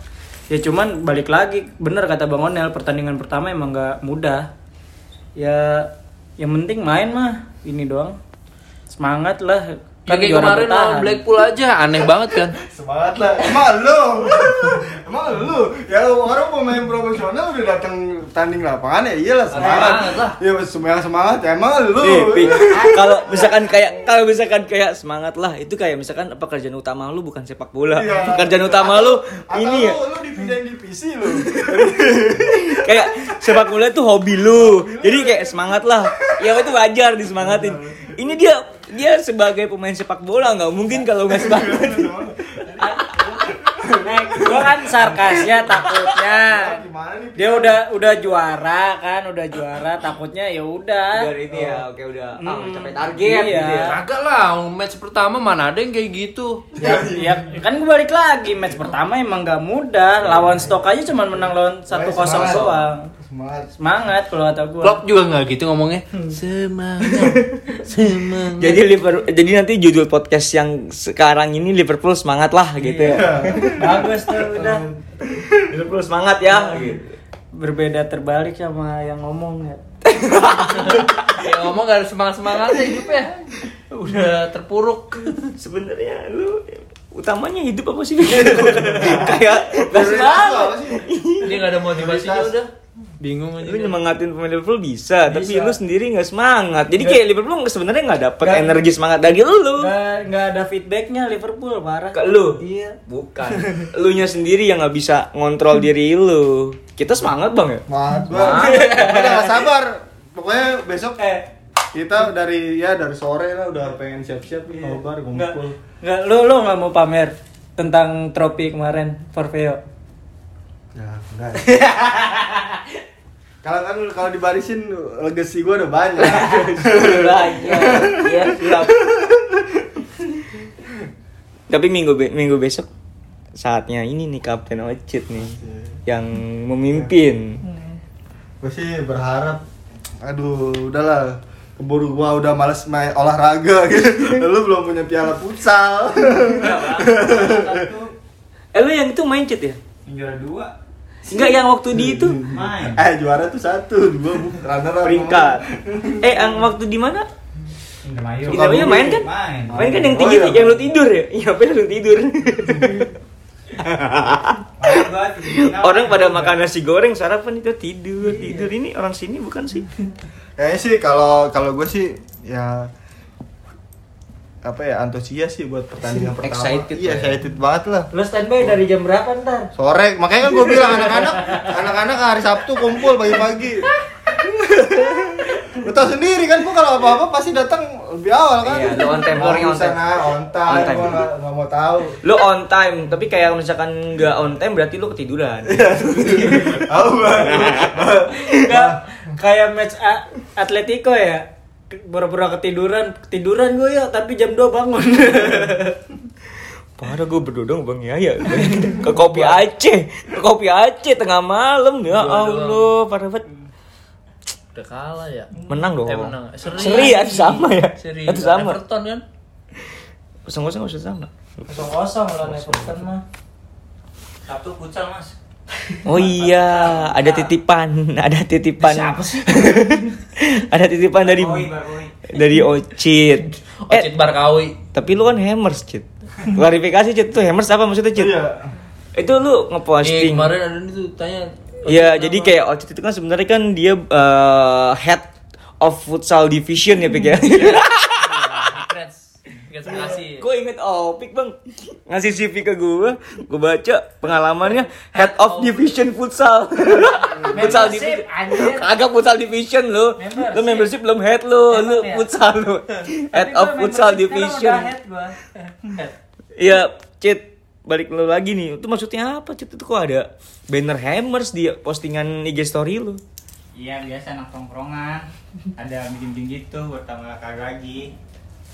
[SPEAKER 4] Ya cuman balik lagi, bener kata Bang Onel, pertandingan pertama emang nggak mudah. Ya, yang penting main mah, ini doang. Semangat lah.
[SPEAKER 1] Ya,
[SPEAKER 4] Kan
[SPEAKER 3] Kayak
[SPEAKER 4] juara
[SPEAKER 3] kemarin lawan
[SPEAKER 4] bertahan.
[SPEAKER 3] Blackpool aja aneh banget kan.
[SPEAKER 2] Semangat lah. Emang lu. Emang lu. Ya orang pemain profesional udah datang tanding lapangan ya iyalah semangat. Iya semangat semangat. Emang lu.
[SPEAKER 1] Eh, Pik, kalau misalkan kayak kalau misalkan kayak semangat lah itu kayak misalkan pekerjaan utama lu bukan sepak bola
[SPEAKER 2] Iya.
[SPEAKER 1] pekerjaan utama lu
[SPEAKER 2] Atau
[SPEAKER 1] ini ya
[SPEAKER 2] lu, lu dipindahin divisi lu.
[SPEAKER 1] kayak sepak bola itu hobi lu jadi kayak semangat lah ya itu wajar
[SPEAKER 2] Iya,
[SPEAKER 1] disemangatin ini dia dia sebagai pemain sepak bola nggak mungkin kalau nggak
[SPEAKER 2] Iya,
[SPEAKER 1] semangat
[SPEAKER 4] Nek, gua kan sarkasnya takutnya.
[SPEAKER 2] Gimana nih?
[SPEAKER 4] Dia udah udah juara kan, udah juara, takutnya ya udah.
[SPEAKER 1] Udah ini ya oke udah ah,
[SPEAKER 4] Mm.
[SPEAKER 1] capek target
[SPEAKER 4] Iya.
[SPEAKER 1] gitu ya.
[SPEAKER 3] Kagak lah, match pertama mana ada yang kayak gitu.
[SPEAKER 4] Ya, ya, kan gue balik lagi match pertama emang gak mudah lawan stok aja cuman menang lawan 1-0
[SPEAKER 2] Semangat.
[SPEAKER 4] doang
[SPEAKER 2] Semangat.
[SPEAKER 4] semangat kalau kata gue
[SPEAKER 3] Klopp juga nggak gitu ngomongnya.
[SPEAKER 4] Hmm.
[SPEAKER 3] Semangat, semangat.
[SPEAKER 1] Jadi Liverpool, jadi nanti judul podcast yang sekarang ini Liverpool semangat lah gitu ya.
[SPEAKER 4] bagus tuh udah
[SPEAKER 1] Liverpool semangat ya. Gitu.
[SPEAKER 4] berbeda terbalik sama yang ngomong ya
[SPEAKER 3] Ya ngomong gak ada semangat semangatnya hidupnya. ya. Udah terpuruk.
[SPEAKER 1] Sebenarnya lu utamanya hidup apa sih? Kayak gak semangat.
[SPEAKER 2] Apa sih?
[SPEAKER 3] Dia nggak ada motivasinya udah. Bingung aja.
[SPEAKER 1] Lu
[SPEAKER 3] dia.
[SPEAKER 1] nyemangatin pemain Liverpool bisa, tapi
[SPEAKER 5] Bisa.
[SPEAKER 1] lu sendiri nggak semangat. Jadi kayak Liverpool nggak- sebenarnya nggak dapet energi semangat dari lu.
[SPEAKER 4] nggak nggak ada feedbacknya Liverpool parah
[SPEAKER 1] Ke lu?
[SPEAKER 4] iya
[SPEAKER 1] Bukan. lu nya sendiri yang nggak bisa ngontrol diri lu. Kita semangat bang ya.
[SPEAKER 2] Semangat. Gua gua udah gak sabar. Pokoknya besok
[SPEAKER 1] Eh.
[SPEAKER 2] kita dari ya dari sore lah udah pengen siap-siap
[SPEAKER 1] Iya.
[SPEAKER 2] nih nobar
[SPEAKER 4] nggak
[SPEAKER 2] ngumpul.
[SPEAKER 4] nggak lu lu nggak mau pamer tentang trofi kemarin Forfeo
[SPEAKER 2] Ya, enggak. Kalau kan kalau dibarisin legacy gua udah banyak.
[SPEAKER 1] Iya, iya, siap. Tapi minggu be- minggu besok saatnya ini nih Kapten Ocit nih yang memimpin.
[SPEAKER 2] gue sih berharap aduh udahlah keburu gua udah males main olahraga gitu. Lu belum punya piala futsal.
[SPEAKER 1] Eh lu yang itu main Cit ya?
[SPEAKER 5] Juara dua
[SPEAKER 1] Enggak yang waktu di itu
[SPEAKER 5] Main
[SPEAKER 2] eh juara tuh satu, dua bu- runner up.
[SPEAKER 1] peringkat. Eh yang waktu di mana?
[SPEAKER 5] Indramayu
[SPEAKER 1] Kita punya main kan?
[SPEAKER 5] Main
[SPEAKER 1] Main kan yang tinggi
[SPEAKER 2] Oh, iya.
[SPEAKER 1] yang lu tidur ya? Iya, apa yang lu tidur? Orang pada makan nasi goreng sarapan itu tidur tidur ini orang sini bukan sih?
[SPEAKER 2] Kayaknya sih kalau kalau gue sih ya apa ya antusias sih buat pertandingan pertama.
[SPEAKER 1] Excited
[SPEAKER 2] iya,
[SPEAKER 1] lah ya.
[SPEAKER 2] excited banget lah.
[SPEAKER 4] lu standby dari jam berapa ntar
[SPEAKER 2] Sore, makanya kan gue bilang anak-anak anak-anak hari Sabtu kumpul pagi-pagi. Lu tau sendiri kan, gua kalau apa-apa pasti datang lebih awal kan.
[SPEAKER 1] Iya, lu on time,
[SPEAKER 2] Mau
[SPEAKER 1] orangnya on time.
[SPEAKER 2] sana, on
[SPEAKER 1] On
[SPEAKER 2] time,
[SPEAKER 1] time.
[SPEAKER 2] gua nggak- nggak mau tahu.
[SPEAKER 1] Lu on time, tapi kayak misalkan nggak on time berarti lu ketiduran.
[SPEAKER 2] Tahu banget.
[SPEAKER 4] Enggak, kayak match A- Atletico ya. Bura-bura ketiduran, ketiduran gue ya, tapi jam 2 bangun.
[SPEAKER 1] Pada gue berdodong Bang Yaya Ke kopi Aceh Ke kopi Aceh tengah malam
[SPEAKER 3] Iya,
[SPEAKER 1] Ya Allah Parah banget
[SPEAKER 3] Udah kalah ya.
[SPEAKER 1] Menang dong
[SPEAKER 3] Eh menang. Seri.
[SPEAKER 1] Seri ya itu sama ya
[SPEAKER 3] Seri.
[SPEAKER 1] Itu sama
[SPEAKER 3] Everton kan.
[SPEAKER 1] Kosong-kosong harus sama
[SPEAKER 5] kosong kosong lah Everton mah
[SPEAKER 6] Sabtu futsal mas.
[SPEAKER 1] Oh iya Ada titipan Ada titipan Siapa sih? Ada titipan dari
[SPEAKER 6] Barkoi, Barkoi.
[SPEAKER 1] Dari Ocit Eh
[SPEAKER 3] Ocit Barkawi.
[SPEAKER 1] tapi lu kan hammers Cit Klarifikasi Cit Itu hammers apa maksudnya Cit?
[SPEAKER 2] Iya.
[SPEAKER 1] Itu lu
[SPEAKER 3] Nih,
[SPEAKER 1] ngeposting
[SPEAKER 3] Iya, kemarin ada nih tuh tanya.
[SPEAKER 1] Iya, jadi kayak Ocit itu kan sebenarnya kan dia eh, head of futsal division ya, Pik ya.
[SPEAKER 3] Regrets. Regrets kasih.
[SPEAKER 1] gue inget Opik bang ngasih CV ke gue, gue baca pengalamannya head of division futsal. futsal division.
[SPEAKER 5] anjir.
[SPEAKER 1] Kagak futsal division lu. Lu membership belum head lu, lu
[SPEAKER 5] ya?
[SPEAKER 1] futsal lu. Head of futsal division. Iya, Cit balik lu lagi nih. Itu maksudnya apa, Cit? Itu kok ada banner hammers di postingan IG story lu?
[SPEAKER 6] Iya biasa anak tongkrongan. Ada bikin-bikin gitu buat tambah kakak lagi.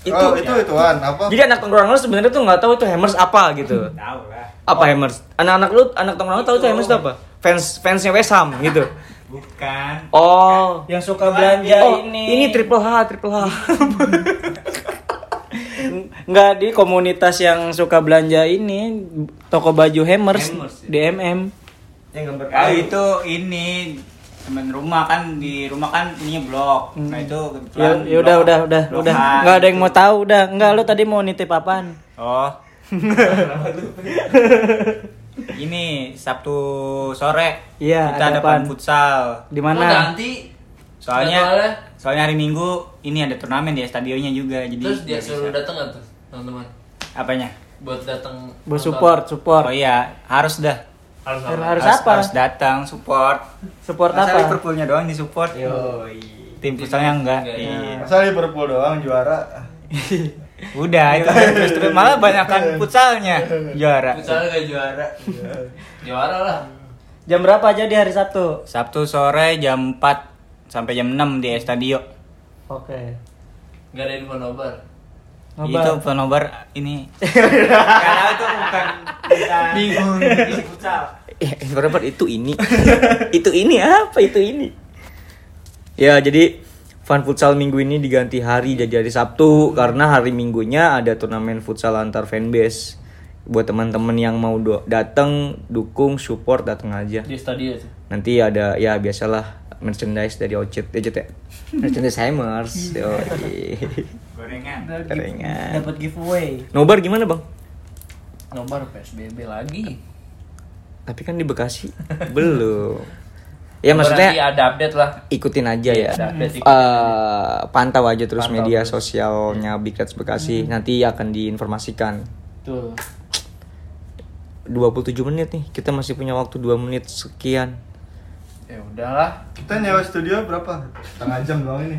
[SPEAKER 1] Itu
[SPEAKER 2] oh, itu ituan apa?
[SPEAKER 1] Jadi anak tongkrongan lu sebenarnya tuh nggak tahu itu hammers apa gitu.
[SPEAKER 6] Tahu lah.
[SPEAKER 1] Apa hammers? Anak-anak lu, anak tongkrongan lu tahu itu hammers itu apa? Fans fansnya Wesam gitu.
[SPEAKER 6] Bukan.
[SPEAKER 1] Oh.
[SPEAKER 5] Yang suka belanja
[SPEAKER 1] oh,
[SPEAKER 5] ini.
[SPEAKER 1] ini triple H, triple H.
[SPEAKER 4] Enggak di komunitas yang suka belanja ini toko baju Hammers,
[SPEAKER 6] Hammers, ya?
[SPEAKER 4] DMM.
[SPEAKER 2] Yang gambar
[SPEAKER 6] Ah itu ini temen rumah kan di rumah kan ininya blok. Nah itu
[SPEAKER 4] Ya,
[SPEAKER 6] kebetulan
[SPEAKER 4] ya udah
[SPEAKER 6] blok-
[SPEAKER 4] udah udah
[SPEAKER 6] blokan.
[SPEAKER 4] udah. Enggak ada yang mau tahu udah. Enggak lu tadi mau nitip apaan?
[SPEAKER 6] Oh. ini Sabtu sore
[SPEAKER 4] Iya,
[SPEAKER 6] kita
[SPEAKER 4] ada
[SPEAKER 6] ada
[SPEAKER 4] apaan?
[SPEAKER 6] pan futsal.
[SPEAKER 4] Di
[SPEAKER 3] Mau
[SPEAKER 4] mana?
[SPEAKER 3] ganti. Jadwalnya?
[SPEAKER 6] Soalnya soalnya hari Minggu ini ada turnamen di stadionnya juga jadi
[SPEAKER 3] Terus dia
[SPEAKER 6] nggak bisa.
[SPEAKER 3] suruh datang nggak tuh teman-teman?
[SPEAKER 6] apanya?
[SPEAKER 3] Buat datang.
[SPEAKER 4] Buat
[SPEAKER 3] nonton.
[SPEAKER 4] support,
[SPEAKER 6] Oh
[SPEAKER 4] support.
[SPEAKER 6] iya, harus dah.
[SPEAKER 3] Harus
[SPEAKER 4] Harus,
[SPEAKER 3] apa?
[SPEAKER 4] harus apa?
[SPEAKER 6] Harus datang support.
[SPEAKER 4] Support
[SPEAKER 6] Masa
[SPEAKER 4] apa? Iya.
[SPEAKER 6] Liverpoolnya doang di support. Tim futsalnya enggak.
[SPEAKER 3] Enggak,
[SPEAKER 6] Iya.
[SPEAKER 2] Masa Liverpool doang juara.
[SPEAKER 6] Udah itu terus terus malah banyakkan futsalnya juara.
[SPEAKER 3] Misalnya kayak juara. juara lah.
[SPEAKER 4] Jam berapa aja di hari Sabtu?
[SPEAKER 6] Sabtu sore jam 4 sampai jam 6 di Estadio.
[SPEAKER 4] Oke.
[SPEAKER 3] Gak ada info nobar.
[SPEAKER 6] Itu
[SPEAKER 4] Ngobrol.
[SPEAKER 6] penobar ini. Karena itu bukan bukan bingung isi futsal.
[SPEAKER 1] Ya, Invertebrate itu ini. itu ini apa? Itu ini. Ya, jadi Fun Futsal minggu ini diganti hari jadi hari Sabtu karena hari Minggunya ada turnamen futsal antar fanbase. Buat teman-teman yang mau do- datang, dukung, support datang aja.
[SPEAKER 3] Di stadion tuh.
[SPEAKER 1] Nanti ada ya biasalah merchandise dari Ocit ya Cet, ya. Merchandise Hammers. Yoi.
[SPEAKER 6] Gorengan.
[SPEAKER 1] Kerengan.
[SPEAKER 4] Dapat giveaway.
[SPEAKER 1] Nobar gimana, Bang?
[SPEAKER 3] Nobar PSBB lagi.
[SPEAKER 1] Tapi kan di Bekasi belum. Ya
[SPEAKER 3] Nobar
[SPEAKER 1] maksudnya
[SPEAKER 3] nanti ada update lah.
[SPEAKER 1] ikutin aja ya.
[SPEAKER 3] Ada update dikit.
[SPEAKER 1] Eh, pantau aja terus
[SPEAKER 3] Pantau
[SPEAKER 1] media
[SPEAKER 3] terus. Hmm.
[SPEAKER 1] sosialnya Big Reds Bekasi. Nanti akan diinformasikan.
[SPEAKER 3] Tuh.
[SPEAKER 1] 27 menit nih. Kita masih punya waktu 2 menit sekian.
[SPEAKER 3] Ya udahlah.
[SPEAKER 2] Kita nyewa studio berapa? Setengah jam doang ini.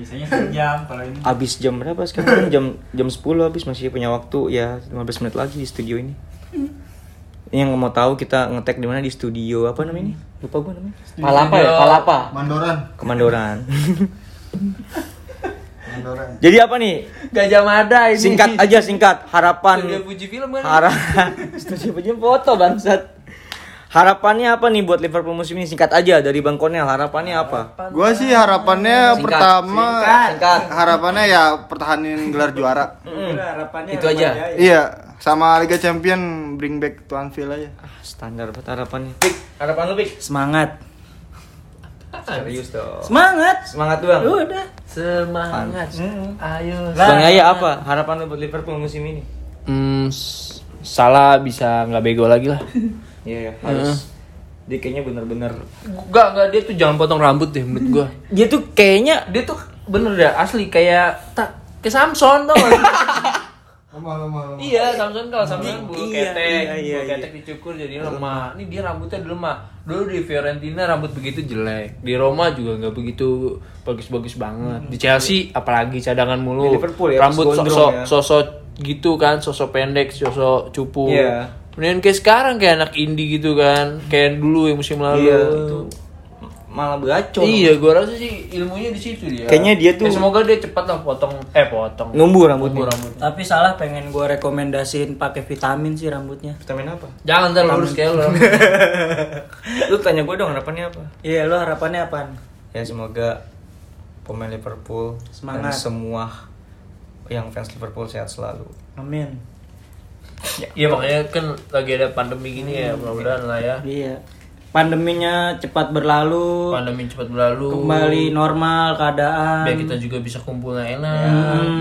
[SPEAKER 6] Biasanya sejam kalau ini.
[SPEAKER 1] Abis jam berapa sekarang? Kan jam jam 10 abis masih punya waktu ya 15 menit lagi di studio ini. Yang mau tahu kita ngetek di mana di studio apa namanya ini? Lupa gue namanya. Palapa ya, Palapa.
[SPEAKER 2] Mandoran.
[SPEAKER 1] Kemandoran.
[SPEAKER 2] Mandoran.
[SPEAKER 1] Jadi apa nih?
[SPEAKER 3] Gajah Mada ini.
[SPEAKER 1] Singkat aja singkat. Harapan
[SPEAKER 3] Studio Fuji Film kan?
[SPEAKER 1] Harap Studio Pujian foto bangsat. Harapannya apa nih buat Liverpool musim ini? Singkat aja dari Bang Konel, harapannya apa?
[SPEAKER 2] Gua sih harapannya
[SPEAKER 1] Singkat,
[SPEAKER 2] pertama
[SPEAKER 1] singkat.
[SPEAKER 2] harapannya ya pertahanin gelar juara.
[SPEAKER 6] harapannya
[SPEAKER 1] Itu aja.
[SPEAKER 2] iya, sama Liga Champion bring back to Anfield aja.
[SPEAKER 1] Standar banget harapannya. Pik, harapan lu Pik.
[SPEAKER 4] Semangat.
[SPEAKER 1] Serius dong.
[SPEAKER 4] Semangat.
[SPEAKER 1] Semangat tuh Bang.
[SPEAKER 4] Udah.
[SPEAKER 3] Semangat. Ayo.
[SPEAKER 1] Bang Yaya iya, apa? Harapan lu buat Liverpool musim ini?
[SPEAKER 3] Hmm, s- salah bisa nggak bego lagi lah.
[SPEAKER 1] Iya, ya, harus. Dia kayaknya bener-bener
[SPEAKER 3] Enggak, enggak dia tuh jangan potong rambut deh menurut gua.
[SPEAKER 1] dia tuh kayaknya
[SPEAKER 3] Dia tuh bener dah asli kayak tak ke Samson tau gak?
[SPEAKER 2] Lemah, lemah,
[SPEAKER 3] iya, Samson kalau Samson bulu
[SPEAKER 1] Iya,
[SPEAKER 3] ketek,
[SPEAKER 1] iya, iya,
[SPEAKER 3] bulu ketek dicukur jadi lemah. Ini dia rambutnya lemah. Dulu di Fiorentina rambut begitu jelek. Di Roma juga nggak begitu bagus-bagus banget. Di Chelsea apalagi cadangan mulu.
[SPEAKER 1] Di Liverpool ya,
[SPEAKER 3] rambut
[SPEAKER 1] pas gondrong
[SPEAKER 3] sosok
[SPEAKER 1] ya.
[SPEAKER 3] sosok gitu kan, sosok pendek, sosok cupu.
[SPEAKER 1] Iya.
[SPEAKER 3] Kemudian kayak sekarang kayak anak indie gitu kan, kayak dulu yang musim lalu.
[SPEAKER 1] Iya. malah bacot.
[SPEAKER 3] Iya, gua rasa sih ilmunya di situ dia.
[SPEAKER 1] Kayaknya dia tuh-
[SPEAKER 3] Ya, semoga dia cepat lah potong eh potong.
[SPEAKER 1] Numbu rambutnya.
[SPEAKER 3] Numbu rambutnya.
[SPEAKER 4] Tapi salah pengen gua rekomendasiin pakai vitamin sih rambutnya.
[SPEAKER 1] Vitamin apa?
[SPEAKER 3] Jangan ntar lurus kayak lu.
[SPEAKER 1] Lu tanya gue dong harapannya apa?
[SPEAKER 4] Iya, lo harapannya apaan?
[SPEAKER 1] Ya semoga pemain Liverpool dan
[SPEAKER 4] Semangat.
[SPEAKER 1] semua yang fans Liverpool sehat selalu.
[SPEAKER 4] Amin.
[SPEAKER 3] Iya makanya kan lagi ada pandemi gini ya, mudah-mudahan lah ya.
[SPEAKER 4] Iya. Pandeminya cepat berlalu,
[SPEAKER 3] Pandemi cepat berlalu.
[SPEAKER 4] kembali normal keadaan.
[SPEAKER 3] Biar kita juga bisa kumpulnya enak.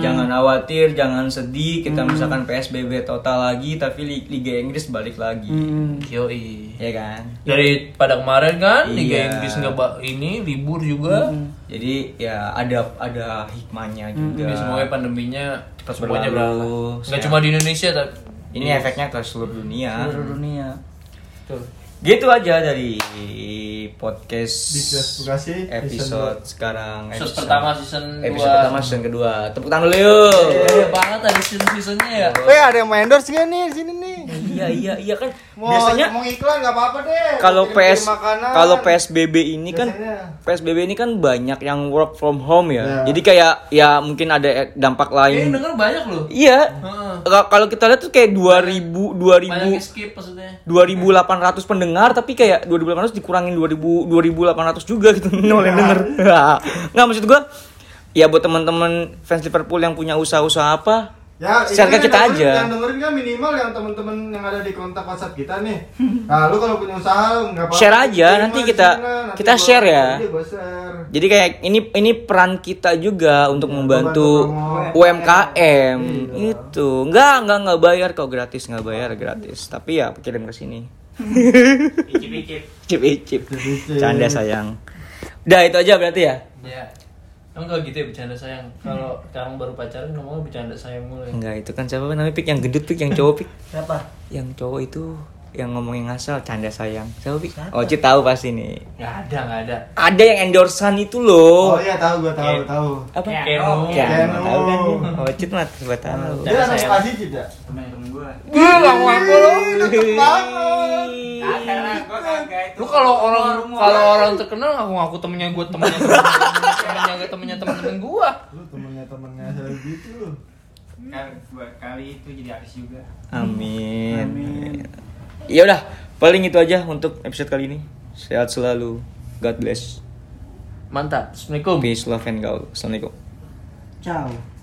[SPEAKER 1] Ya, Jangan khawatir, jangan sedih. Kita misalkan PSBB total lagi, tapi Li- Liga Inggris balik lagi,
[SPEAKER 4] Hmm.
[SPEAKER 3] Yoi.
[SPEAKER 1] ya kan?
[SPEAKER 3] Dari pada kemarin kan Liga
[SPEAKER 1] Iya.
[SPEAKER 3] Inggris nggak ba- ini libur juga.
[SPEAKER 1] Jadi ya ada ada hikmahnya juga.
[SPEAKER 3] Jadi semoga pandeminya cepat
[SPEAKER 1] Terus
[SPEAKER 3] semuanya
[SPEAKER 1] Ya. berlalu,
[SPEAKER 3] berlalu. Nggak
[SPEAKER 1] sehat.
[SPEAKER 3] cuma di Indonesia tapi
[SPEAKER 1] Ini efeknya ke seluruh dunia.
[SPEAKER 4] Seluruh dunia.
[SPEAKER 3] Tuh.
[SPEAKER 1] Gitu aja dari podcast
[SPEAKER 2] Disgustasi,
[SPEAKER 1] episode sekarang.
[SPEAKER 3] Episode
[SPEAKER 1] episode-
[SPEAKER 3] pertama season
[SPEAKER 1] episode
[SPEAKER 3] 2.
[SPEAKER 1] pertama season kedua. Tepuk tangan dulu yuk.
[SPEAKER 3] Iya banget ada season-seasonnya ya.
[SPEAKER 2] Weh Eh, ada yang mau endorse nggak nih di sini nih?
[SPEAKER 1] Iya iya iya kan
[SPEAKER 2] Mau,
[SPEAKER 1] biasanya
[SPEAKER 2] mau iklan nggak apa-apa deh.
[SPEAKER 1] kalau
[SPEAKER 2] Kirim-kirim
[SPEAKER 1] PS
[SPEAKER 2] makanan.
[SPEAKER 1] kalau PSBB ini kan
[SPEAKER 2] Biasanya.
[SPEAKER 1] PSBB ini kan banyak yang work from home ya.
[SPEAKER 2] Ya.
[SPEAKER 1] Jadi kayak ya mungkin ada dampak
[SPEAKER 3] Ini
[SPEAKER 1] lain.
[SPEAKER 3] denger banyak loh.
[SPEAKER 1] Iya.
[SPEAKER 3] Heeh.
[SPEAKER 1] Kalau- Kalau kita lihat tuh kayak 2000
[SPEAKER 3] Banyak
[SPEAKER 1] 2000
[SPEAKER 3] yang skip maksudnya.
[SPEAKER 1] 2800 pendengar tapi kayak 2800 dikurangin 2000 2800 juga gitu nol yang denger. Nggak maksud gua ya buat teman-teman fans Liverpool yang punya usaha-usaha apa
[SPEAKER 2] Ya,
[SPEAKER 1] share
[SPEAKER 2] ini
[SPEAKER 1] ke kita
[SPEAKER 2] yang dengerin-
[SPEAKER 1] aja.
[SPEAKER 2] Yang dengerin kan minimal yang temen-temen yang ada di kontak WhatsApp kita nih. Nah, lu kalau punya usaha nggak apa-apa.
[SPEAKER 1] Share aja,
[SPEAKER 2] Kirim
[SPEAKER 1] nanti
[SPEAKER 2] aja
[SPEAKER 1] kita-
[SPEAKER 2] sana, nanti
[SPEAKER 1] kita
[SPEAKER 2] gua-
[SPEAKER 1] share ya.
[SPEAKER 2] nanti gua share.
[SPEAKER 1] Jadi kayak ini ini peran kita juga untuk membantu
[SPEAKER 2] membantu
[SPEAKER 1] UMKM itu. Enggak, enggak enggak bayar kok gratis, enggak bayar gratis. Tapi ya kirim ke sini.
[SPEAKER 6] Icip-icip.
[SPEAKER 1] Cip cip. Canda sayang. Udah itu aja berarti ya?
[SPEAKER 3] Iya. Emang kalau gitu ya bercanda sayang. Kalau sekarang baru pacaran ngomongnya bercanda sayang mulu. ya.
[SPEAKER 1] Enggak, itu kan siapa namanya Pik yang gendut Pik yang cowok Pik.
[SPEAKER 4] Siapa?
[SPEAKER 1] Yang cowok itu yang ngomongin ngasal canda sayang. Siapa Pik? Oci tahu pasti nih.
[SPEAKER 3] Nggak ada, nggak ada.
[SPEAKER 1] Ada yang endorsean itu loh.
[SPEAKER 2] Oh iya tahu gua tahu tahu.
[SPEAKER 1] Apa?
[SPEAKER 6] Ya,
[SPEAKER 3] Keno.
[SPEAKER 6] oh,
[SPEAKER 1] Ya,
[SPEAKER 2] Keno.
[SPEAKER 1] tahu kan dia. Ocit mah gua tahu.
[SPEAKER 2] Dia anak kasih tidak?
[SPEAKER 6] Temen-temen gue.
[SPEAKER 1] Ih.
[SPEAKER 6] Karena gue kagak itu.
[SPEAKER 3] Lu kalau orang kalau orang terkenal ngaku ngaku temennya gue temennya temennya gue temennya temen-temen gue.
[SPEAKER 2] Lu temennya temennya gitu lu.
[SPEAKER 6] Kan gua kali itu jadi artis juga.
[SPEAKER 1] Amin. Ya udah, paling itu aja untuk episode kali ini. Sehat selalu. God bless.
[SPEAKER 3] Mantap. Assalamualaikum.
[SPEAKER 1] Peace, love and go. Assalamualaikum.
[SPEAKER 4] Ciao.